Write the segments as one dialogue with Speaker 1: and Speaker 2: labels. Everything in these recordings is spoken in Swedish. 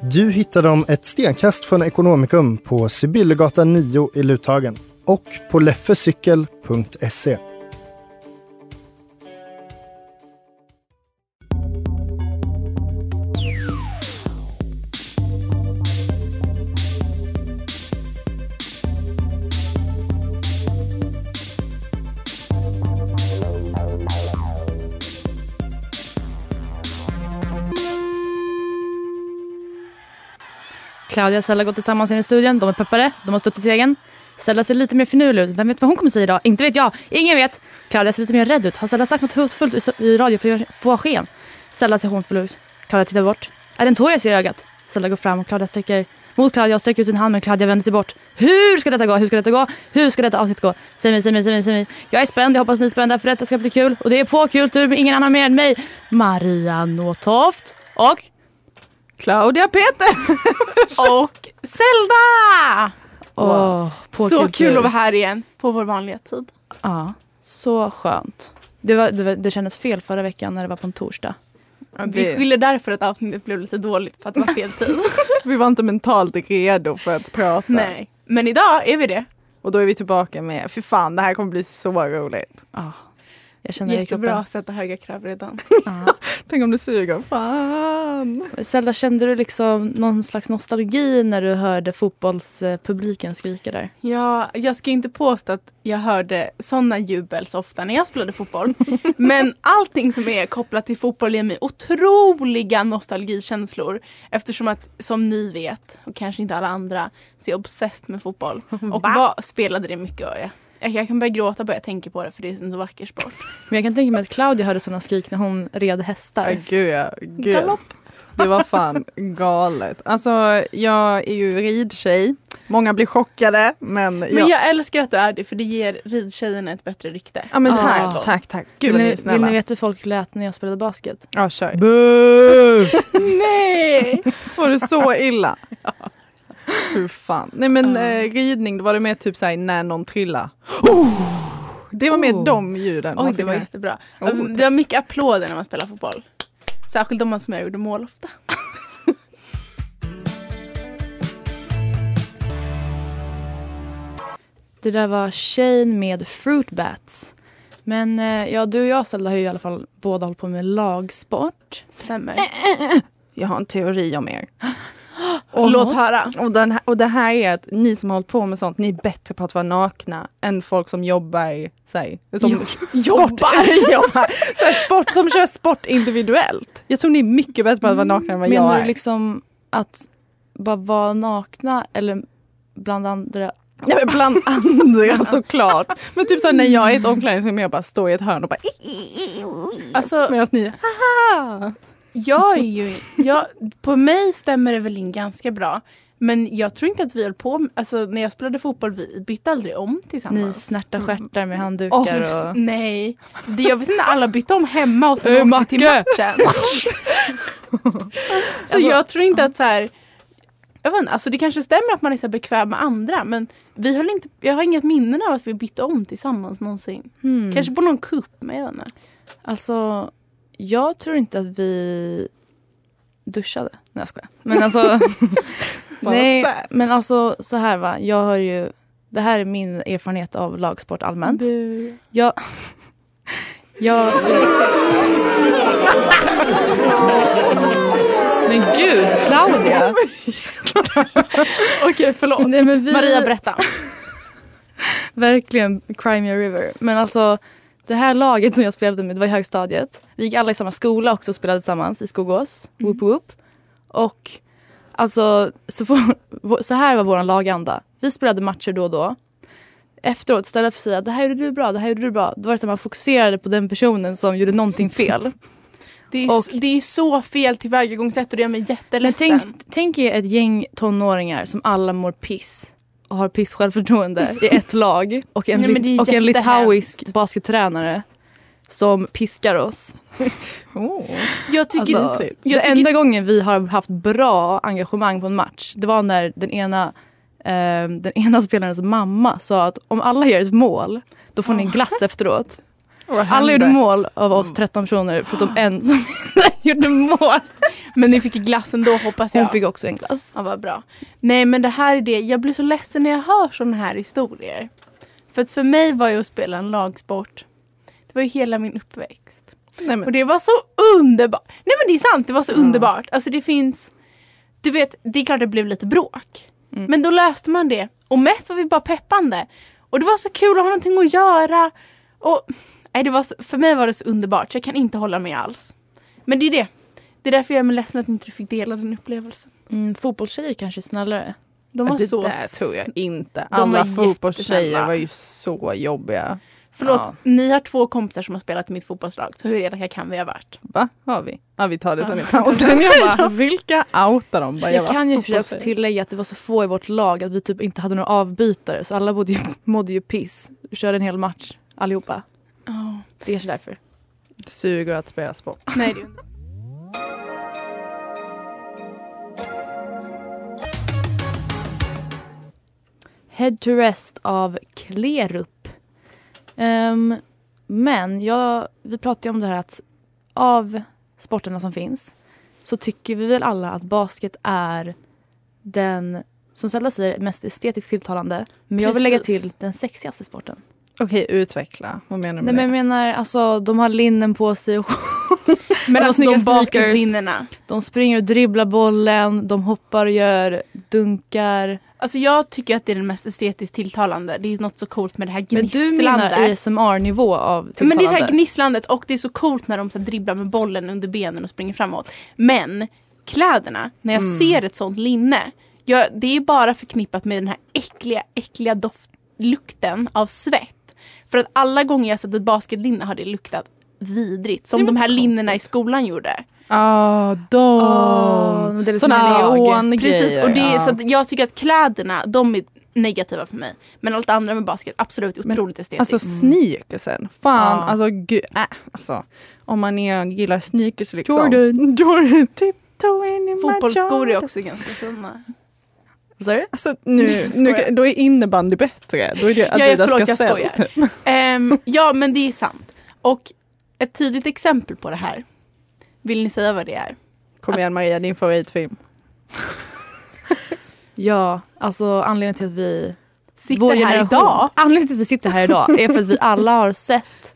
Speaker 1: Du hittar dem ett stenkast från Ekonomikum på Sibyllegatan 9 i Luthagen och på leffecykel.se.
Speaker 2: Claudia och Stella går tillsammans in i studion. De är peppade, de har stått i segern. Stella ser lite mer finurlig ut. Vem vet vad hon kommer säga idag? Inte vet jag. Ingen vet. Claudia ser lite mer rädd ut. Har Stella sagt något hotfullt i- i radio för att få sken? Stella ser hånfull ut. Claudia tittar bort. Är det en tår jag ser i ögat? Stella går fram och Claudia sträcker mot Claudia och sträcker ut sin hand men Claudia vänder sig bort. Hur ska detta gå? Hur ska detta gå? Hur ska detta avsnitt gå? Säg mig, säg mig, säg mig, säg mig. Jag är spänd, jag hoppas ni är spända för detta ska bli kul. Och det är på kul tur med ingen annan mer än mig. Maria Nåtoft och
Speaker 3: Claudia Peter!
Speaker 4: Och Zelda!
Speaker 2: Åh, på
Speaker 4: så
Speaker 2: Kultur.
Speaker 4: kul att vara här igen på vår vanliga tid.
Speaker 2: Ja, så skönt. Det, var, det, var, det kändes fel förra veckan när det var på en torsdag.
Speaker 4: Vi skyller därför att avsnittet blev lite dåligt för att det var fel tid.
Speaker 3: Vi var inte mentalt redo för att prata.
Speaker 4: Nej, men idag är vi det.
Speaker 3: Och då är vi tillbaka med, fy fan det här kommer bli så roligt.
Speaker 2: Ja, jag känner det i
Speaker 4: Jättebra att sätta höga krav redan.
Speaker 2: kroppen.
Speaker 3: Tänk om du suger, fan.
Speaker 2: Ja. Zelda, kände du liksom någon slags nostalgi när du hörde fotbollspubliken skrika där?
Speaker 4: Ja, jag ska inte påstå att jag hörde sådana jubel så ofta när jag spelade fotboll. Men allting som är kopplat till fotboll ger mig otroliga nostalgikänslor. Eftersom att, som ni vet, och kanske inte alla andra, så är jag obsessed med fotboll. Och vad spelade det mycket och jag- jag, jag kan börja gråta bara jag tänker på det för det är en så vacker sport.
Speaker 2: Men jag kan tänka mig att Claudia hörde sådana skrik när hon red
Speaker 3: Ja,
Speaker 2: hästar.
Speaker 3: Äh, gud, ja, gud.
Speaker 4: Galopp!
Speaker 3: Det var fan galet. Alltså jag är ju ridtjej. Många blir chockade men,
Speaker 4: Men jag älskar att du är det för det ger ridtjejerna ett bättre rykte.
Speaker 3: Ja men
Speaker 2: Ah.
Speaker 3: tack, tack, tack.
Speaker 2: Vill
Speaker 3: Gud vad ni
Speaker 2: ni,
Speaker 3: är
Speaker 2: vill
Speaker 3: snälla.
Speaker 2: ni veta hur folk lät när jag spelade basket?
Speaker 3: Ja kör.
Speaker 4: Nej!
Speaker 3: Var det så illa? Hur fan. Nej men eh, ridning, då var det mer typ såhär när någon trillar. Oh! Det var mer
Speaker 2: Oh.
Speaker 3: de ljuden. man
Speaker 4: Oj, det
Speaker 3: fick
Speaker 4: var
Speaker 3: höra.
Speaker 4: jättebra. Alltså,
Speaker 3: Oh,
Speaker 4: det var mycket applåder när man spelar fotboll. Särskilt om man som jag gjorde mål ofta.
Speaker 2: Det där var Shane med Fruit Bats. Men eh, ja, du och jag Zelda har ju i alla fall båda hållit på med lagsport.
Speaker 4: Stämmer.
Speaker 3: Eh, Jag har en teori om er.
Speaker 4: Och låt höra.
Speaker 3: Och, den här, och det här är att ni som har hållit på med sånt, ni är bättre på att vara nakna än folk som jobbar, säg, som jobbar, jobbar. Så här, sport, som kör sport individuellt. Jag tror ni är mycket bättre på att vara
Speaker 4: Mm.
Speaker 3: nakna än vad jag
Speaker 2: Menar
Speaker 3: är.
Speaker 2: du liksom att bara vara nakna eller bland andra?
Speaker 3: Nej, men bland andra såklart. Men typ så här, när jag är i
Speaker 4: Mm.
Speaker 3: ett omklädningsrum, jag bara står i ett hörn och bara
Speaker 4: Alltså,
Speaker 3: medan ni haha.
Speaker 4: jag är ju... Jag, på mig stämmer det väl in ganska bra. Men jag tror inte att vi höll på med- Alltså när jag spelade fotboll, vi bytte aldrig om tillsammans.
Speaker 2: Ni snärtar stjärtar med
Speaker 4: Åh,
Speaker 2: handdukar och...
Speaker 4: Nej. Det, jag vet inte, alla bytte om hemma och sen åkte
Speaker 3: Eh,
Speaker 4: vi till
Speaker 3: Macke!
Speaker 4: matchen. så jag tror inte att så här... Jag vet inte, alltså det kanske stämmer att man är så här bekväm med andra men vi höll inte, jag har inget minnen av att vi bytte om tillsammans någonsin.
Speaker 2: Hmm.
Speaker 4: Kanske på någon kupp, men jag vet inte.
Speaker 2: Alltså, jag tror inte att vi duschade. Nej jag skojar. Men alltså,
Speaker 3: vad
Speaker 2: nej,
Speaker 3: sad.
Speaker 2: men alltså så här va. Jag har ju, det här är min erfarenhet av lagsport allmänt.
Speaker 4: Bu.
Speaker 2: Jag... jag... Men gud, Claudia!
Speaker 4: Okej, förlåt.
Speaker 2: Nej, men vi,
Speaker 4: Maria, berätta.
Speaker 2: Verkligen Crimea River. Men alltså det här laget som jag spelade med, det var i högstadiet. Vi gick alla i samma skola också och spelade tillsammans i Skogås. Whoop whoop. Och alltså så, får- så här var vår laganda. Vi spelade matcher då och då. Efteråt, istället för att säga det här gjorde du bra, det här gjorde du bra. Då var det så att man fokuserade på den personen som gjorde någonting fel.
Speaker 4: Det är,
Speaker 2: Och-
Speaker 4: det är så fel tillvägagångssätt och det gör mig
Speaker 2: Men
Speaker 4: jätteledsen.
Speaker 2: tänk, tänk er ett gäng tonåringar som alla mår piss och har piss självförtroende i ett lag och en,
Speaker 4: Nej, men det
Speaker 2: lit-
Speaker 4: är
Speaker 2: och en
Speaker 4: jättehemskt.
Speaker 2: litauisk baskettränare som piskar oss.
Speaker 4: jag tycker
Speaker 2: Alltså, Den
Speaker 4: jag tycker-
Speaker 2: enda gången vi har haft bra engagemang på en match det var när den ena, eh, den ena spelarens mamma sa att om alla gör ett mål då får ni en glass efteråt. Alla gjorde mål av
Speaker 4: Mm.
Speaker 2: oss 13 personer förutom en som gjorde mål.
Speaker 4: Men ni fick glass ändå hoppas
Speaker 2: Hon
Speaker 4: jag.
Speaker 2: fick också en glass.
Speaker 4: Ja, vad bra. Nej, men det här är det. Jag blir så ledsen när jag hör sådana här historier. För att för mig var ju att spela en lagsport. Det var ju hela min uppväxt.
Speaker 3: Nej, men-
Speaker 4: Och det var så underbart. Nej men det är sant, det var så underbart. Alltså det finns... Du vet, det är klart det blev lite bråk.
Speaker 3: Mm.
Speaker 4: Men då löste man det. Och mest var vi bara peppande. Och det var så kul att ha någonting att göra. Och nej, det var så, för mig var det så underbart så jag kan inte hålla med alls. Men det är det. Det är därför jag är ledsen att inte du fick dela den upplevelsen.
Speaker 2: Mm, fotbollstjejer kanske är snällare.
Speaker 4: De var
Speaker 3: det
Speaker 4: så...
Speaker 3: där tror jag inte.
Speaker 4: var
Speaker 3: Alla
Speaker 4: jättesnälla.
Speaker 3: fotbollstjejer var ju så jobbiga.
Speaker 4: Förlåt,
Speaker 2: Ja.
Speaker 4: ni har två kompisar som har spelat i mitt fotbollslag. Så hur elaka kan vi ha varit?
Speaker 3: Va? Har vi? Ja vi tar det sen i pausen. Jag bara, vilka outar de? Bara,
Speaker 2: Jag kan ju i och för sig också
Speaker 3: fotbollstjejer.
Speaker 2: tillägga att det var så få i vårt lag att vi typ inte hade några avbytare så alla bodde ju, mådde ju piss. Vi körde en hel match allihopa. Det är kanske därför.
Speaker 3: Suger att spela sport.
Speaker 4: Nej, det är
Speaker 2: Head to Rest av Klerup. Ehm, men jag, vi pratade ju om det här att av sporterna som finns så tycker vi väl alla att basket är den, som Zelda säger, mest estetiskt tilltalande. Men jag vill lägga
Speaker 4: Precis.
Speaker 2: till den sexigaste sporten.
Speaker 3: Okej, utveckla. Vad menar du
Speaker 2: Nej
Speaker 3: med
Speaker 2: men jag menar alltså de har linnen på sig och
Speaker 4: Men
Speaker 2: Och
Speaker 4: alltså
Speaker 2: snygga
Speaker 4: de
Speaker 2: sneakers.
Speaker 4: basketlinjerna.
Speaker 2: de springer och dribblar bollen, de hoppar och gör dunkar.
Speaker 4: Alltså jag tycker att det är den mest estetiskt tilltalande. Det är något så coolt med det här
Speaker 2: Men du
Speaker 4: gnisslandet.
Speaker 2: menar ASMR-nivå av typ
Speaker 4: Men det är det här
Speaker 2: tilltalande.
Speaker 4: gnisslandet och det är så coolt när de så här dribblar med bollen under benen och springer framåt. Men kläderna, när jag
Speaker 2: Mm.
Speaker 4: ser ett sånt linne, jag, det är bara förknippat med den här äckliga, äckliga doftlukten av svett. För att alla gånger jag sett ett basketlinne har det luktat vidrigt. Som de här linnena i skolan gjorde.
Speaker 3: Ah, de!
Speaker 2: Ah, men det är liksom
Speaker 3: Såna
Speaker 2: neon-
Speaker 3: neongrejer.
Speaker 4: Precis, och det är,
Speaker 3: ja.
Speaker 4: så att jag tycker att kläderna, de är negativa för mig. Men allt andra med basket, absolut
Speaker 3: Men,
Speaker 4: otroligt estetiskt. Mm.
Speaker 3: Alltså sneakersen, fan
Speaker 2: Ja.
Speaker 3: alltså gud, äh, alltså. Om man är, gillar sneakers liksom.
Speaker 2: Jordan.
Speaker 3: Jordan, tiptoe in i my
Speaker 4: Fotbollsskor är
Speaker 3: Jordan.
Speaker 4: också ganska fina.
Speaker 2: Vad sa du?
Speaker 3: Alltså nu,
Speaker 4: Skojar.
Speaker 3: nu, kan- då är innebandy bättre. Då är det
Speaker 4: Ja, ja,
Speaker 3: Adidas
Speaker 4: förlåt, jag
Speaker 3: Gazelle.
Speaker 4: skojar. Ehm, ja, men det är sant. Och ett tydligt exempel på det här. Vill ni säga vad det är?
Speaker 3: Kom igen Maria, din favoritfilm.
Speaker 2: Ja, alltså anledningen till att vi
Speaker 4: Sitter
Speaker 2: vår
Speaker 4: här
Speaker 2: generation-
Speaker 4: idag.
Speaker 2: Anledningen till att vi sitter här idag är för att vi alla har sett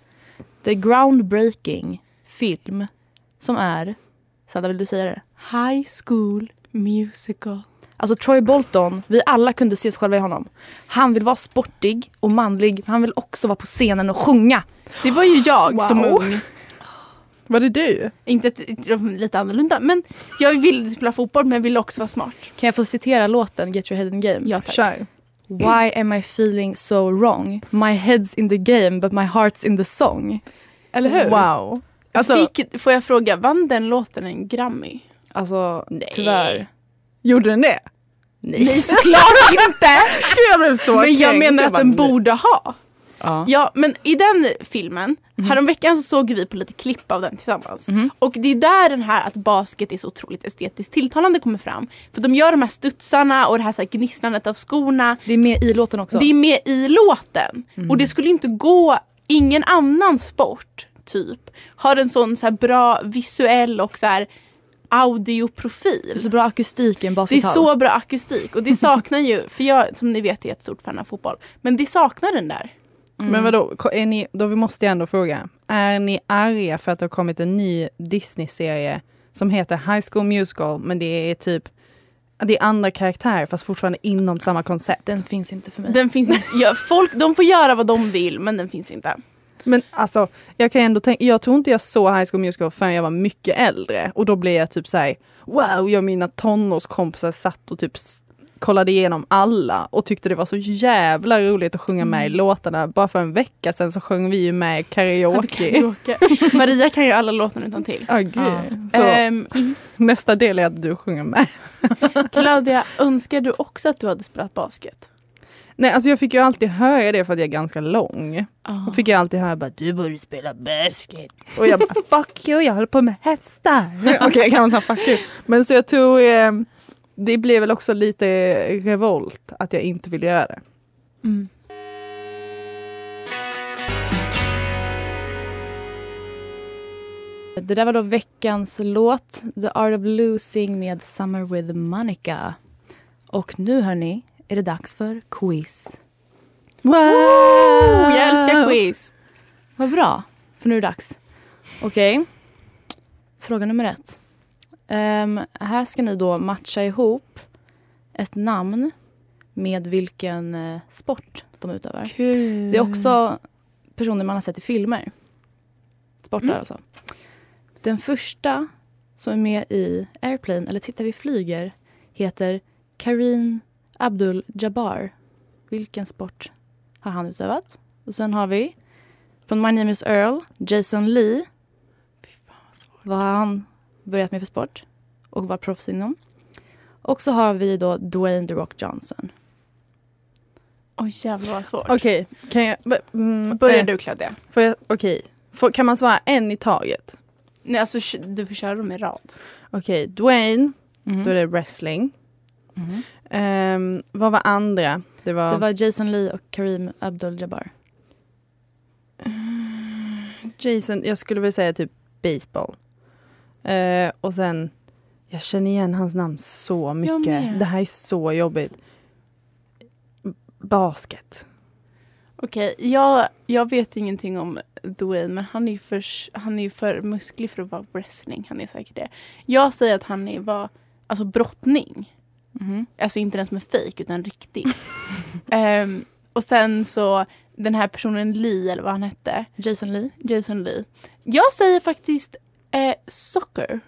Speaker 2: the groundbreaking film som är, Sandra vill du säga det?
Speaker 4: High School Musical.
Speaker 2: Alltså Troy Bolton, vi alla kunde se oss själva i honom. Han vill vara sportig och manlig, men han vill också vara på scenen och sjunga.
Speaker 4: Det var ju jag
Speaker 3: Wow.
Speaker 4: som ung.
Speaker 3: Var det du?
Speaker 4: Inte ett, ett- lite annorlunda, men jag ville spela fotboll men jag ville också vara smart.
Speaker 2: Kan jag få citera låten Get Your Head In Game?
Speaker 4: Ja, tack.
Speaker 3: Kör.
Speaker 2: Why am I feeling so wrong? My head's in the game but my heart's in the song. Eller hur?
Speaker 3: Wow. Alltså,
Speaker 4: Fick, får jag fråga, vann den låten en Grammy?
Speaker 2: Alltså tyvärr.
Speaker 3: gjorde den det?
Speaker 4: Nej, såklart inte!
Speaker 3: Gud, jag blev så
Speaker 4: Men jag
Speaker 3: kränkt.
Speaker 4: menar att
Speaker 3: bara,
Speaker 4: den
Speaker 3: nej.
Speaker 4: borde ha.
Speaker 2: Ja.
Speaker 4: Ja, men i den filmen, häromveckan så såg vi på lite klipp av den tillsammans. Och det är där den här att basket är så otroligt estetiskt tilltalande kommer fram. För de gör de här studsarna och det här, så här gnisslandet av skorna.
Speaker 2: Det är med i låten också.
Speaker 4: Det är med i låten.
Speaker 2: Mm.
Speaker 4: Och det skulle inte gå, ingen annan sport typ har en sån så här bra visuell och så här
Speaker 2: Det är
Speaker 4: audioprofil.
Speaker 2: så bra akustik i en
Speaker 4: Det är
Speaker 2: baskethall.
Speaker 4: så bra akustik och det saknar ju, för jag som ni vet är ett stort fan av fotboll, men det saknar den där.
Speaker 3: Men vadå, ko- är ni, då vi måste jag ändå fråga. Är ni arga för att det har kommit en ny Disney-serie som heter High School Musical, men det är typ det är andra karaktärer fast fortfarande inom samma koncept.
Speaker 2: Den finns inte för mig.
Speaker 4: Den finns inte. Ja, folk, de får göra vad de vill men den finns inte.
Speaker 3: Men alltså, jag kan ändå tänka, jag tror inte jag såg High School Musical förrän jag var mycket äldre och då blev jag typ såhär, wow, jag och mina tonårskompisar satt och typ s- kollade igenom alla och tyckte det var så jävla roligt att sjunga med i låtarna. Bara för en vecka sedan så sjöng vi ju med karaoke.
Speaker 4: Karaoke. Maria kan ju alla låtarna utan till.
Speaker 3: Ja, Eh. gud. Så
Speaker 4: Ehm,
Speaker 3: nästa del är att du sjunger med.
Speaker 4: Claudia, önskar du också att du hade spelat basket?
Speaker 3: Nej, alltså jag fick ju alltid höra det för att jag är ganska lång. Då
Speaker 4: Oh.
Speaker 3: fick jag alltid höra bara du borde spela basket. Och jag bara fuck you, jag håller på med hästar. Okej, jag kan säga fuck you. Men så jag tror eh, det blev väl också lite revolt att jag inte ville göra det.
Speaker 4: Mm.
Speaker 2: Det där var då veckans låt, The Art of Losing med Summer with Monica. Och nu hörni, är det dags för quiz.
Speaker 3: Wow!
Speaker 4: Oh, jag älskar quiz.
Speaker 2: Vad bra, för nu är det dags. Okej, fråga nummer ett. Ehm, här ska ni då matcha ihop ett namn med vilken eh, sport de utövar.
Speaker 4: Kul.
Speaker 2: Det är också personer man har sett i filmer. Sportar
Speaker 4: Mm.
Speaker 2: alltså. Den första som är med i Airplane, eller Titta vi flyger, heter Karin Abdul-Jabbar. Vilken sport har han utövat? Och sen har vi från My Name Is Earl, Jason Lee. Vad har han börjat med för sport och var proffs inom? Och så har vi då Dwayne The Rock Johnson.
Speaker 4: Åh jävlar vad svårt.
Speaker 3: Okej, kan jag... va- Mm,
Speaker 4: Börjar
Speaker 3: eh,
Speaker 4: du Claudia?
Speaker 3: Får jag okej. Får- Kan man svara en i taget?
Speaker 4: Nej, alltså, kö- du får köra dem i rad.
Speaker 3: Okej, Dwayne,
Speaker 2: Mhm.
Speaker 3: då är det wrestling.
Speaker 2: Mhm.
Speaker 3: Ehm, vad var andra? Det var...
Speaker 2: Det var Jason Lee och Karim Abdul-Jabbar.
Speaker 3: Jason, jag skulle väl säga typ baseball. Eh, och sen, jag känner igen hans namn så mycket.
Speaker 4: med.
Speaker 3: Det här är så jobbigt. Basket.
Speaker 4: Okej, jag, jag vet ingenting om Dwayne men han är ju för, han är ju för musklig för att vara wrestling. Han är säkert det. Jag säger att han är, var alltså brottning.
Speaker 2: Mhm.
Speaker 4: Alltså inte den som är fejk utan riktig. Ehm, och sen så den här personen Lee eller vad han hette.
Speaker 2: Jason Lee.
Speaker 4: Jason Lee. Jag säger faktiskt eh, soccer.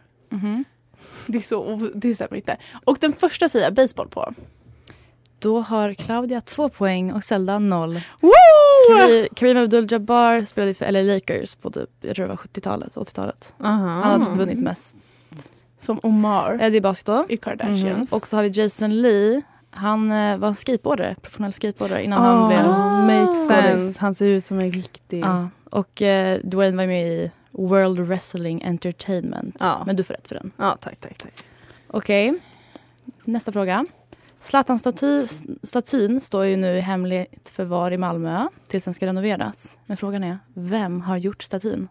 Speaker 4: Det, är så, o- det stämmer inte. Och den första säger jag baseball på.
Speaker 2: Då har Claudia två poäng och Zelda noll.
Speaker 3: Oh!
Speaker 4: Woo!
Speaker 2: Kari- Kareem Abdul-Jabbar spelade ju för LA Lakers på typ, jag tror det var 70-talet, 80-talet. Han hade typ vunnit mest.
Speaker 4: Som Omar
Speaker 2: Eh, mm-hmm. Det är basket då.
Speaker 4: i Kardashians.
Speaker 2: Och så har vi Jason Lee. Han eh, var skateboardare, professionell skateboardare innan han
Speaker 4: Ah.
Speaker 3: Oh,
Speaker 2: blev...
Speaker 3: makes
Speaker 2: skådis.
Speaker 3: sense. Han ser ut som en riktig...
Speaker 2: Ja. Och eh, Dwayne var med i World Wrestling Entertainment.
Speaker 3: Ja.
Speaker 2: Men du får rätt för den.
Speaker 3: Ja, tack, tack, tack.
Speaker 2: Okej. Nästa fråga. Zlatan-statyn står ju nu i hemligt förvar i Malmö tills den ska renoveras. Men frågan är, vem har gjort statyn?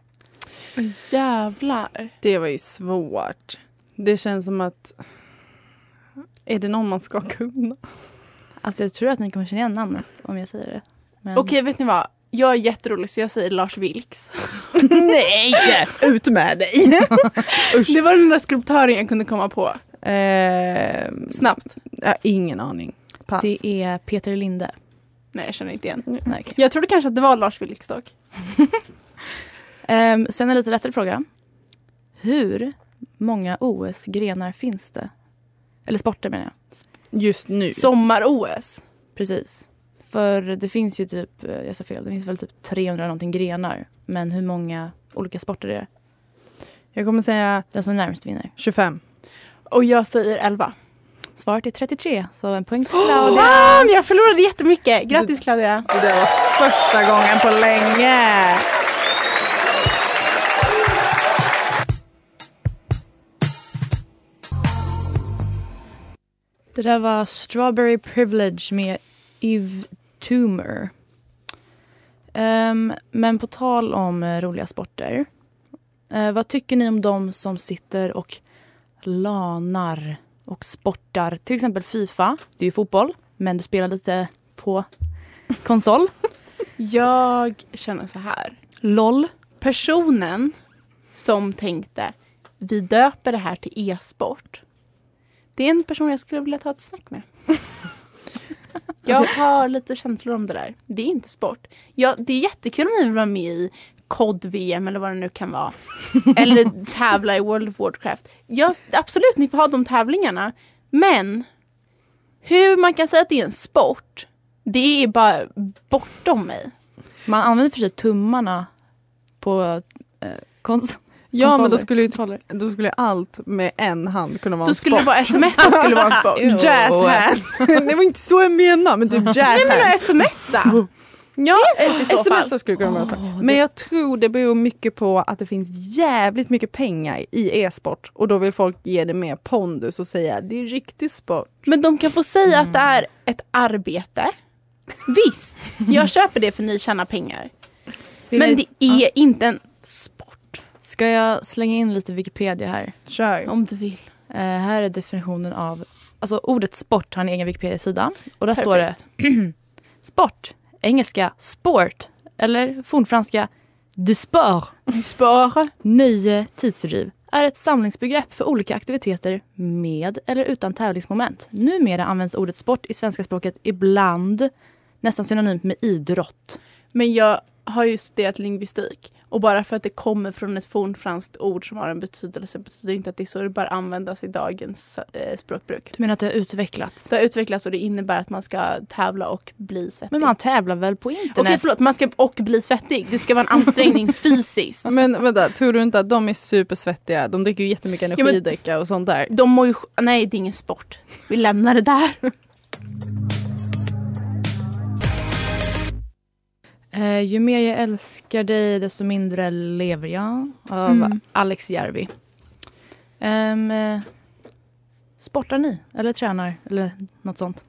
Speaker 4: Åh, jävlar.
Speaker 3: Det var ju svårt. Det känns som att... Är det någon man ska kunna?
Speaker 2: Alltså jag tror att ni kommer känna igen namnet om jag säger det. Men...
Speaker 4: Okej, vet ni vad? Jag är jätterolig så jag säger Lars Vilks.
Speaker 3: Nej! Ut med dig!
Speaker 4: Det var den där skulptören jag kunde komma på.
Speaker 3: Ehm,
Speaker 4: Snabbt.
Speaker 3: ja, ingen aning. Pass.
Speaker 2: Det är Peter Linde.
Speaker 4: Nej, jag känner inte igen.
Speaker 2: Nej, okej.
Speaker 4: Jag trodde kanske att det var Lars Vilks dock.
Speaker 2: Ehm, sen en lite lättare fråga. Hur många OS-grenar finns det? Eller sporter menar jag.
Speaker 3: Just nu.
Speaker 4: Sommar-OS.
Speaker 2: Precis. För det finns ju typ, eh, jag sa fel, det finns väl typ 300 någonting grenar. Men hur många olika sporter är det?
Speaker 3: Jag kommer säga
Speaker 2: Den som är närmast vinner.
Speaker 3: 25.
Speaker 4: Och jag säger 11.
Speaker 2: Svaret är 33, så en poäng för Claudia.
Speaker 4: Fan, Ah, jag förlorade jättemycket. Grattis Claudia.
Speaker 3: Det där var första gången på länge.
Speaker 2: Det där var Strawberry Privilege med Eve Toomer. Ehm, men på tal om eh, roliga sporter. eh, vad tycker ni om de som sitter och lanar och sportar? Till exempel Fifa, det är ju fotboll, men du spelar lite på konsol.
Speaker 4: Jag känner så här.
Speaker 2: LOL.
Speaker 4: Personen som tänkte vi döper det här till e-sport. Det är en person jag skulle vilja ta ett snack med. Jag har lite känslor om det där. Det är inte sport. Ja, det är jättekul om ni vill vara med i COD-VM eller vad det nu kan vara. Eller tävla i World of Warcraft. Ja, absolut, ni får ha de tävlingarna. Men hur man kan säga att det är en sport, det är bara bortom mig.
Speaker 2: Man använder för sig tummarna på eh, konst.
Speaker 3: Ja men då
Speaker 2: Konsoler.
Speaker 3: skulle, ju, då skulle ju allt med en hand kunna vara
Speaker 4: Då
Speaker 3: en
Speaker 4: skulle det
Speaker 3: sport.
Speaker 4: vara smsa skulle vara en sport.
Speaker 2: Ew.
Speaker 3: Jazz hands. det var inte så jag menade men typ
Speaker 4: Nej
Speaker 3: jazz
Speaker 4: men
Speaker 3: hands.
Speaker 4: att smsa.
Speaker 3: Ja,
Speaker 4: i så fall.
Speaker 3: sms skulle kunna vara så.
Speaker 4: typ-
Speaker 3: Men jag tror det beror mycket på att det finns jävligt mycket pengar i e-sport och då vill folk ge det mer pondus och säga det är riktig sport.
Speaker 4: Men de kan få säga att det är ett arbete. Visst, jag köper det för ni tjänar pengar.
Speaker 2: Vill
Speaker 4: men
Speaker 2: jag-
Speaker 4: det är inte en sport.
Speaker 2: Ska jag slänga in lite Wikipedia här?
Speaker 3: Kör.
Speaker 4: Om du vill.
Speaker 2: Eh, här är definitionen av... Alltså ordet sport har en egen Wikipedia-sida. Och där står det
Speaker 4: Perfekt.
Speaker 2: sport, engelska sport eller fornfranska du sport,
Speaker 4: Spara.
Speaker 2: nöje, tidsfördriv är ett samlingsbegrepp för olika aktiviteter med eller utan tävlingsmoment. Numera används ordet sport i svenska språket ibland nästan synonymt med idrott.
Speaker 4: Men jag har ju studerat lingvistik. Och bara för att det kommer från ett fornfranskt ord som har en betydelse betyder inte att det är så det bör användas i dagens eh, språkbruk.
Speaker 2: Du menar att det har utvecklats?
Speaker 4: Det har utvecklats och det innebär att man ska tävla och bli svettig.
Speaker 2: Men man tävlar väl på
Speaker 4: Okej
Speaker 2: internet?
Speaker 4: förlåt, man ska och bli svettig. Det ska vara en ansträngning fysiskt.
Speaker 3: Men vänta, tror du inte att de är supersvettiga? De dricker ju jättemycket
Speaker 4: men-
Speaker 3: energidricka och sånt där.
Speaker 4: De mår ju... sj- Nej, det är ingen sport. Vi lämnar det där.
Speaker 2: Eh, ju mer jag älskar dig, desto mindre lever jag. Av
Speaker 4: Mm.
Speaker 2: Alex Järvi. Ehm, eh, sportar ni? Eller tränar? Eller något sånt?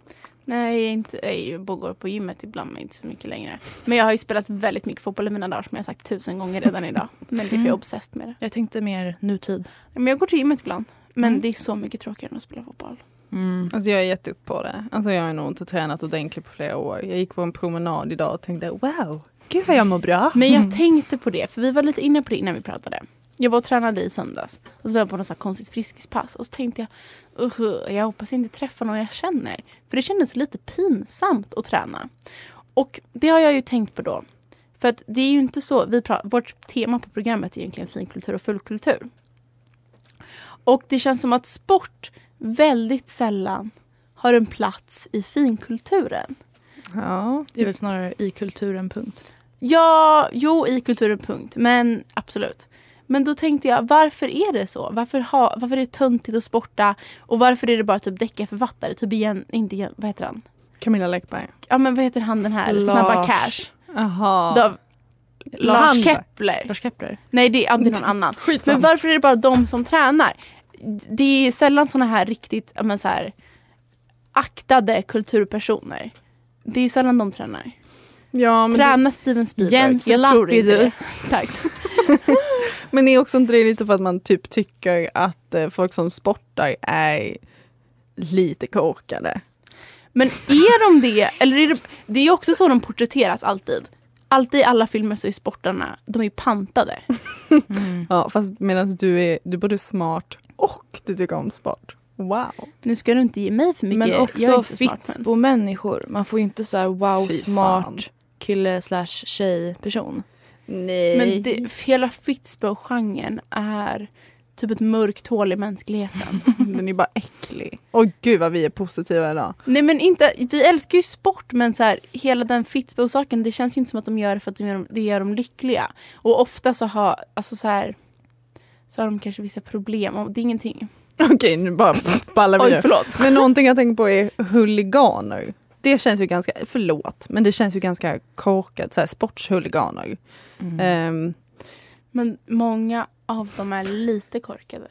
Speaker 4: Nej, jag, är inte, jag går på gymmet ibland, men inte så mycket längre. Men jag har ju spelat väldigt mycket fotboll i mina dagar, som jag har sagt tusen gånger redan idag. Men det är för jag är
Speaker 2: Mm.
Speaker 4: obsessed med det.
Speaker 2: Jag tänkte mer nutid.
Speaker 4: Men jag går till gymmet ibland. Men
Speaker 2: Mm.
Speaker 4: det är så mycket tråkigare än att spela fotboll. Mm.
Speaker 3: Alltså jag har gett upp på det. Alltså jag har nog inte tränat ordentligt på flera år. Jag gick på en promenad idag och tänkte wow, gud vad jag mår bra.
Speaker 4: Men jag tänkte på det, för vi var lite inne på det innan vi pratade. Jag var och tränade i söndags och så var jag på något så här konstigt friskispass och så tänkte jag "Usch, jag hoppas jag inte träffa någon jag känner. För det kändes lite pinsamt att träna. Och det har jag ju tänkt på då. För att det är ju inte så, vi pra- vårt tema på programmet är egentligen finkultur och fullkultur. Och det känns som att sport väldigt sällan har en plats i finkulturen.
Speaker 3: Ja.
Speaker 2: Det är väl snarare i kulturen, punkt.
Speaker 4: Ja, jo i kulturen punkt. Men absolut. Men då tänkte jag, varför är det så? Varför, ha, varför är det töntigt att sporta? Och varför är det bara typ däckaförfattare? Typ igen, inte igen, vad heter han?
Speaker 3: Camilla Läckberg.
Speaker 4: Ja men vad heter han den här,
Speaker 3: Lars.
Speaker 4: Snabba Cash?
Speaker 3: Aha.
Speaker 4: Dav, Lars
Speaker 3: Lambert.
Speaker 4: Kepler.
Speaker 2: Lars Kepler?
Speaker 4: Nej det är, det är någon annan. Men
Speaker 3: Skitsamma.
Speaker 4: varför är det bara de som tränar? Det är sällan såna här riktigt, ja, men så här, aktade kulturpersoner. Det är sällan de tränar.
Speaker 3: Ja, men, det,
Speaker 4: Träna Steven Spielberg.
Speaker 2: Jens
Speaker 4: jag tror inte det.
Speaker 2: Lapidus.
Speaker 4: Tack.
Speaker 3: men är också inte det lite för att man typ tycker att eh, folk som sportar är lite korkade?
Speaker 4: Men är de det? Eller är det, det är ju också så de porträtteras alltid. Alltid i alla filmer så är sportarna, de är ju pantade. Mm.
Speaker 3: Ja, fast medan du är, du är både smart och du tycker om sport. Wow.
Speaker 4: Nu ska du inte ge mig för mycket.
Speaker 2: Men
Speaker 4: jag är
Speaker 2: också
Speaker 4: inte smart, men-
Speaker 2: Fitzbo-människor. Man får ju inte så här wow,
Speaker 3: Fy fan.
Speaker 2: smart kille slash tjej-person.
Speaker 3: Nej.
Speaker 4: Men det, hela Fitzbo-genren är typ ett mörkt hål i mänskligheten.
Speaker 3: Den är bara äcklig. Åh gud vad vi är positiva idag.
Speaker 4: Nej men inte, vi älskar ju sport men så här, hela den Fitzbo-saken det känns ju inte som att de gör det för att de gör dem, det gör dem lyckliga. Och ofta så har, alltså så här, så har de kanske vissa problem. Och det är ingenting.
Speaker 3: Okej, nu bara ballar vi
Speaker 4: Oj
Speaker 3: ur.
Speaker 4: förlåt.
Speaker 3: Men någonting jag tänker på är huliganer. Det känns ju ganska, förlåt, men det känns ju ganska korkat. Så här, sportshuliganer.
Speaker 4: Mm.
Speaker 2: Eh,
Speaker 3: Ehm,
Speaker 4: Men många av dem är lite korkade.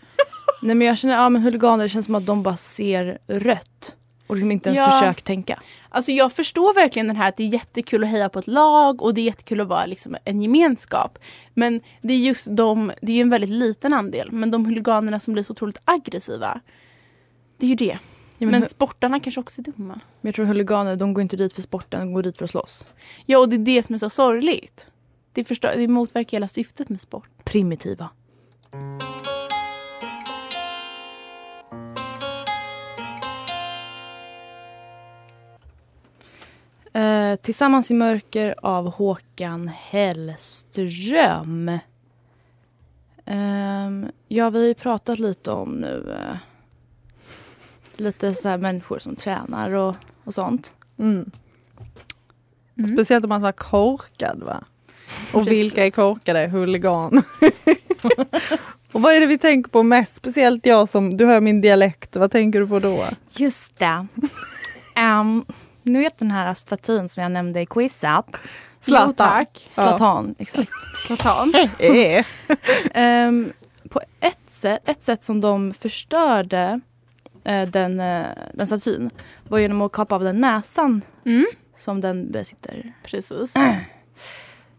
Speaker 2: Nej men jag känner, ja men huliganer, det känns som att de bara ser rött. Och liksom inte ens
Speaker 4: Ja.
Speaker 2: försöker tänka.
Speaker 4: Alltså jag förstår verkligen den här att det är jättekul att heja på ett lag och det är jättekul att vara liksom en gemenskap. Men det är just de, det är ju en väldigt liten andel, men de huliganerna som blir så otroligt aggressiva. Det är ju det.
Speaker 2: Ja, men
Speaker 4: men
Speaker 2: hu-
Speaker 4: sportarna kanske också är dumma.
Speaker 2: Men jag tror huliganer, de går inte dit för sporten, de går dit för att slåss.
Speaker 4: Ja, och det är det som är så sorgligt. Det, förstör, det motverkar hela syftet med sport.
Speaker 2: Primitiva. Eh, Tillsammans i mörker av Håkan Hellström. Ehm, ja, vi har ju pratat lite om nu eh, lite så här människor som tränar och, och sånt.
Speaker 3: Mm.
Speaker 4: Mm.
Speaker 3: Speciellt om man var korkad va? Och
Speaker 2: Precis.
Speaker 3: vilka är korkade? Huligan. och vad är det vi tänker på mest? Speciellt jag som, du hör min dialekt, vad tänker du på då?
Speaker 2: Just det. Ehm, nu vet den här statyn som jag nämnde i quizet.
Speaker 4: Jo,
Speaker 3: Zlatan.
Speaker 4: tack.
Speaker 2: Zlatan, exakt.
Speaker 4: Slatan.
Speaker 3: Eh.
Speaker 2: Ehm, på ett sätt, ett sätt som de förstörde eh, den, eh, den statyn var genom att kapa av den näsan
Speaker 4: Mm.
Speaker 2: som den besitter.
Speaker 4: Precis.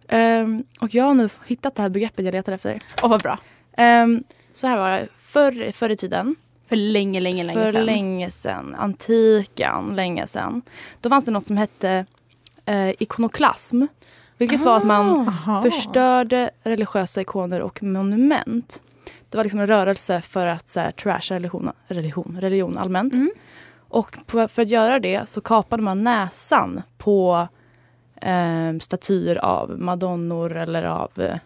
Speaker 2: Ehm, och jag har nu hittat det här begreppet jag letar efter.
Speaker 4: Och vad bra.
Speaker 2: Ehm, så här var det. Förr, förr i tiden,
Speaker 4: För länge, länge, länge
Speaker 2: för
Speaker 4: sedan.
Speaker 2: länge sedan, antiken, länge sedan. Då fanns det något som hette eh, ikonoklasm. Vilket var att man förstörde religiösa ikoner och monument. Det var liksom en rörelse för att så här, trasha religion, religion, religion allmänt.
Speaker 4: Mm.
Speaker 2: Och på, för att göra det så kapade man näsan på eh, statyer av madonnor eller av... Eh,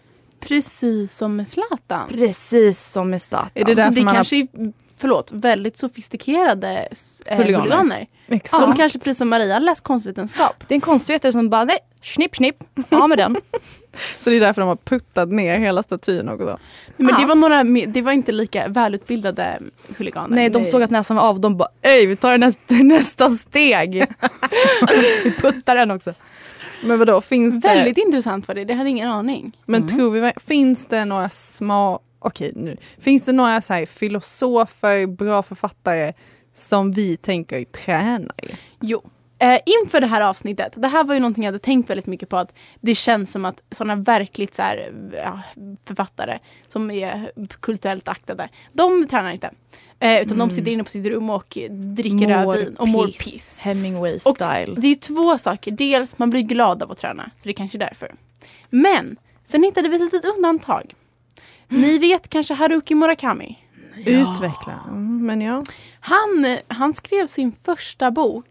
Speaker 4: Precis som med Zlatan.
Speaker 2: precis som i Zlatan.
Speaker 3: Är det
Speaker 4: Så
Speaker 3: därför
Speaker 4: Alltså, det
Speaker 3: man
Speaker 4: kanske är, förlåt, väldigt sofistikerade eh,
Speaker 2: Huliganer.
Speaker 4: huliganer.
Speaker 3: Exakt.
Speaker 4: Som kanske precis som Maria läst konstvetenskap.
Speaker 2: Det är en konstvetare som bara nej, snipp snipp, av med den.
Speaker 3: Så det är därför de har puttat ner hela statyn också.
Speaker 4: Men
Speaker 2: Ja.
Speaker 4: det, var några, me- det var inte lika välutbildade huliganer.
Speaker 2: Nej, de såg att näsan var av. De bara öj, vi tar nästa, nästa steg. vi puttar den också.
Speaker 3: Men vadå, finns det...
Speaker 4: Väldigt intressant var det, det hade jag ingen aning.
Speaker 3: Men tror vi, finns det några små, okej nu, finns det några så här filosofer, bra författare som vi tänker tränare?
Speaker 4: Jo. Eh, inför det här avsnittet, det här var ju någonting jag hade tänkt väldigt mycket på att det känns som att sådana verkligt så här, ja, författare som är kulturellt aktade, de tränar inte. Eh, utan
Speaker 2: Mm.
Speaker 4: de sitter inne på sitt rum och dricker rödvin och mår piss.
Speaker 2: Hemingway
Speaker 4: Och
Speaker 2: style.
Speaker 4: Det är ju två saker. Dels, man blir glad av att träna. Så det är kanske är därför. Men, sen hittade vi ett litet undantag. Ni vet kanske Haruki Murakami?
Speaker 3: Utveckla. Mm, men ja.
Speaker 4: Han, eh, han skrev sin första bok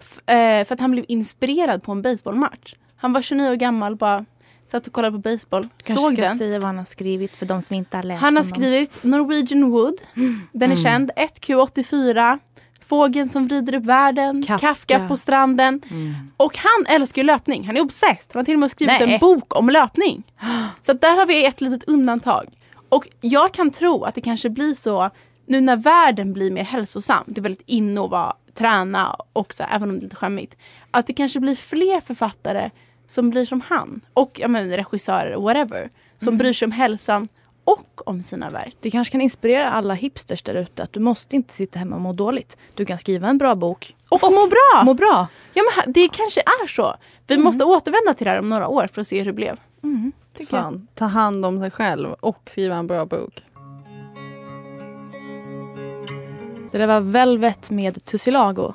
Speaker 4: f- eh, för att han blev inspirerad på en baseballmatch. Han var 29 år gammal, bara satt och kollade på baseball. såg den.
Speaker 2: säga vad han har skrivit för de som inte har läst
Speaker 4: Han har skrivit Norwegian Wood. Den är känd. 1Q84. Fågeln som vrider upp världen.
Speaker 2: Kafka.
Speaker 4: Kafka, på stranden. Och han älskar ju löpning. Han är obsessed. Han har till och med skrivit
Speaker 2: Nej.
Speaker 4: en bok om löpning. Så att där har vi ett litet undantag. Och jag kan tro att det kanske blir så nu när världen blir mer hälsosam. Det är väldigt inne att vara, träna också, även om det är lite skämmigt. Att det kanske blir fler författare som blir som han. Och ja, men, regissörer, whatever. Som bryr sig om hälsan och om sina verk.
Speaker 2: Det kanske kan inspirera alla hipsters där ute att du måste inte sitta hemma och må dåligt. Du kan skriva en bra bok.
Speaker 4: Och, må bra!
Speaker 2: Må bra.
Speaker 4: Ja, men ha- det kanske är så. Vi måste återvända till det här om några år för att se hur det blev.
Speaker 2: Mm.
Speaker 4: Tycker jag.
Speaker 3: Fan, ta hand om sig själv och skriva en bra bok.
Speaker 2: Det där var Velvet med Tussilago.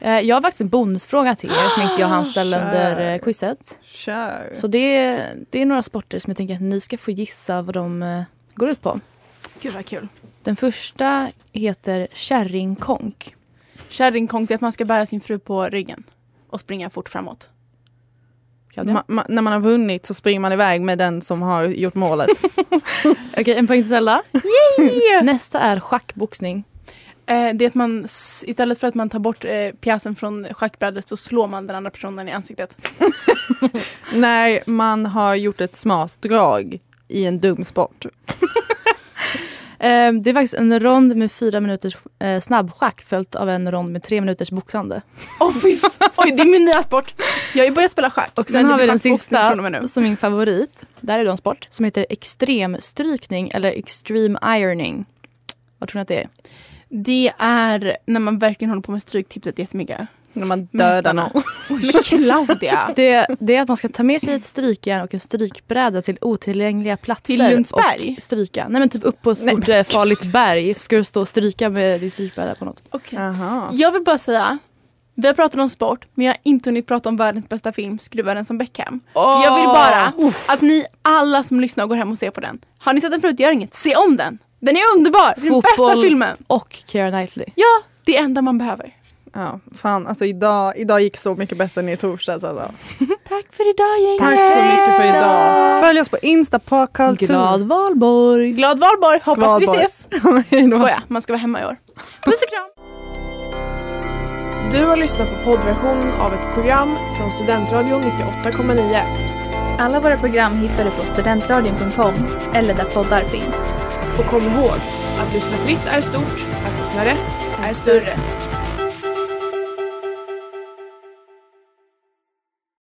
Speaker 2: Eh, Jag har faktiskt en bonusfråga till er som inte jag hann ställa
Speaker 3: Kör.
Speaker 2: under eh, quizet.
Speaker 3: Kör.
Speaker 2: Så det är, det är några sporter som jag tänker att ni ska få gissa vad de eh, går ut på.
Speaker 4: Gud vad kul.
Speaker 2: Den första heter kärringkonk.
Speaker 4: Kärringkonk, det är att man ska bära sin fru på ryggen och springa fort framåt.
Speaker 2: Claudia?
Speaker 3: Ma- ma- när man har vunnit så springer man iväg med den som har gjort målet.
Speaker 2: Okej, en poäng till Zelda. Nästa är schackboxning.
Speaker 4: Eh, det är att man, s- istället för att man tar bort eh, pjäsen från schackbrädet så slår man den andra personen i ansiktet.
Speaker 3: när man har gjort ett smart drag i en dum sport.
Speaker 2: Eh, Det är faktiskt en rond med fyra minuters eh, snabbschack följt av en rond med tre minuters boxande.
Speaker 4: Åh fy fan. Oj, det är min nya sport. Jag har ju börjat spela schack.
Speaker 2: Och sen
Speaker 4: men det
Speaker 2: har vi
Speaker 4: blir
Speaker 2: den
Speaker 4: schackboxning från och
Speaker 2: sista
Speaker 4: med nu.
Speaker 2: som min favorit. Där är det en sport som heter extremstrykning eller extreme ironing. Vad tror ni att det är?
Speaker 4: Det är när man verkligen håller på med stryktipset jättemycket.
Speaker 3: När man
Speaker 4: Med
Speaker 3: dödar
Speaker 4: hästarna.
Speaker 3: någon.
Speaker 4: Men Claudia!
Speaker 2: Det, det är att man ska ta med sig ett strykjärn och en strykbräda till otillgängliga platser.
Speaker 4: Till Lundsberg?
Speaker 2: Och stryka. Nej men typ upp på ett stort eh, farligt berg så ska du stå och stryka med din strykbräda på något.
Speaker 4: Okej.
Speaker 3: Jaha.
Speaker 4: Jag vill bara säga, vi har pratat om sport, men jag har inte hunnit prata om världens bästa film, Skruvaren som Beckham. Jag vill bara att ni alla som lyssnar går hem och ser på den. Har ni sett den förut, gör inget. Se om den! Den är underbar! Det är Den
Speaker 2: Fotboll.
Speaker 4: bästa filmen!
Speaker 2: Och Keira Knightley.
Speaker 4: Ja, det enda man behöver.
Speaker 3: Ja, fan alltså idag, idag gick så mycket bättre än i torsdags alltså.
Speaker 2: Tack för idag gänget!
Speaker 3: Tack så mycket för idag. Följ oss på Insta på
Speaker 2: Glad valborg!
Speaker 4: Glad valborg! Hoppas vi
Speaker 3: Skvalborg.
Speaker 4: ses! Skoja, man ska vara hemma i år. Puss och kram!
Speaker 5: Du har lyssnat på poddversionen av ett program från Studentradion 98,9.
Speaker 6: Alla våra program hittar du på studentradion.com eller där poddar finns.
Speaker 5: Och kom ihåg, att lyssna fritt är stort, att lyssna rätt är större.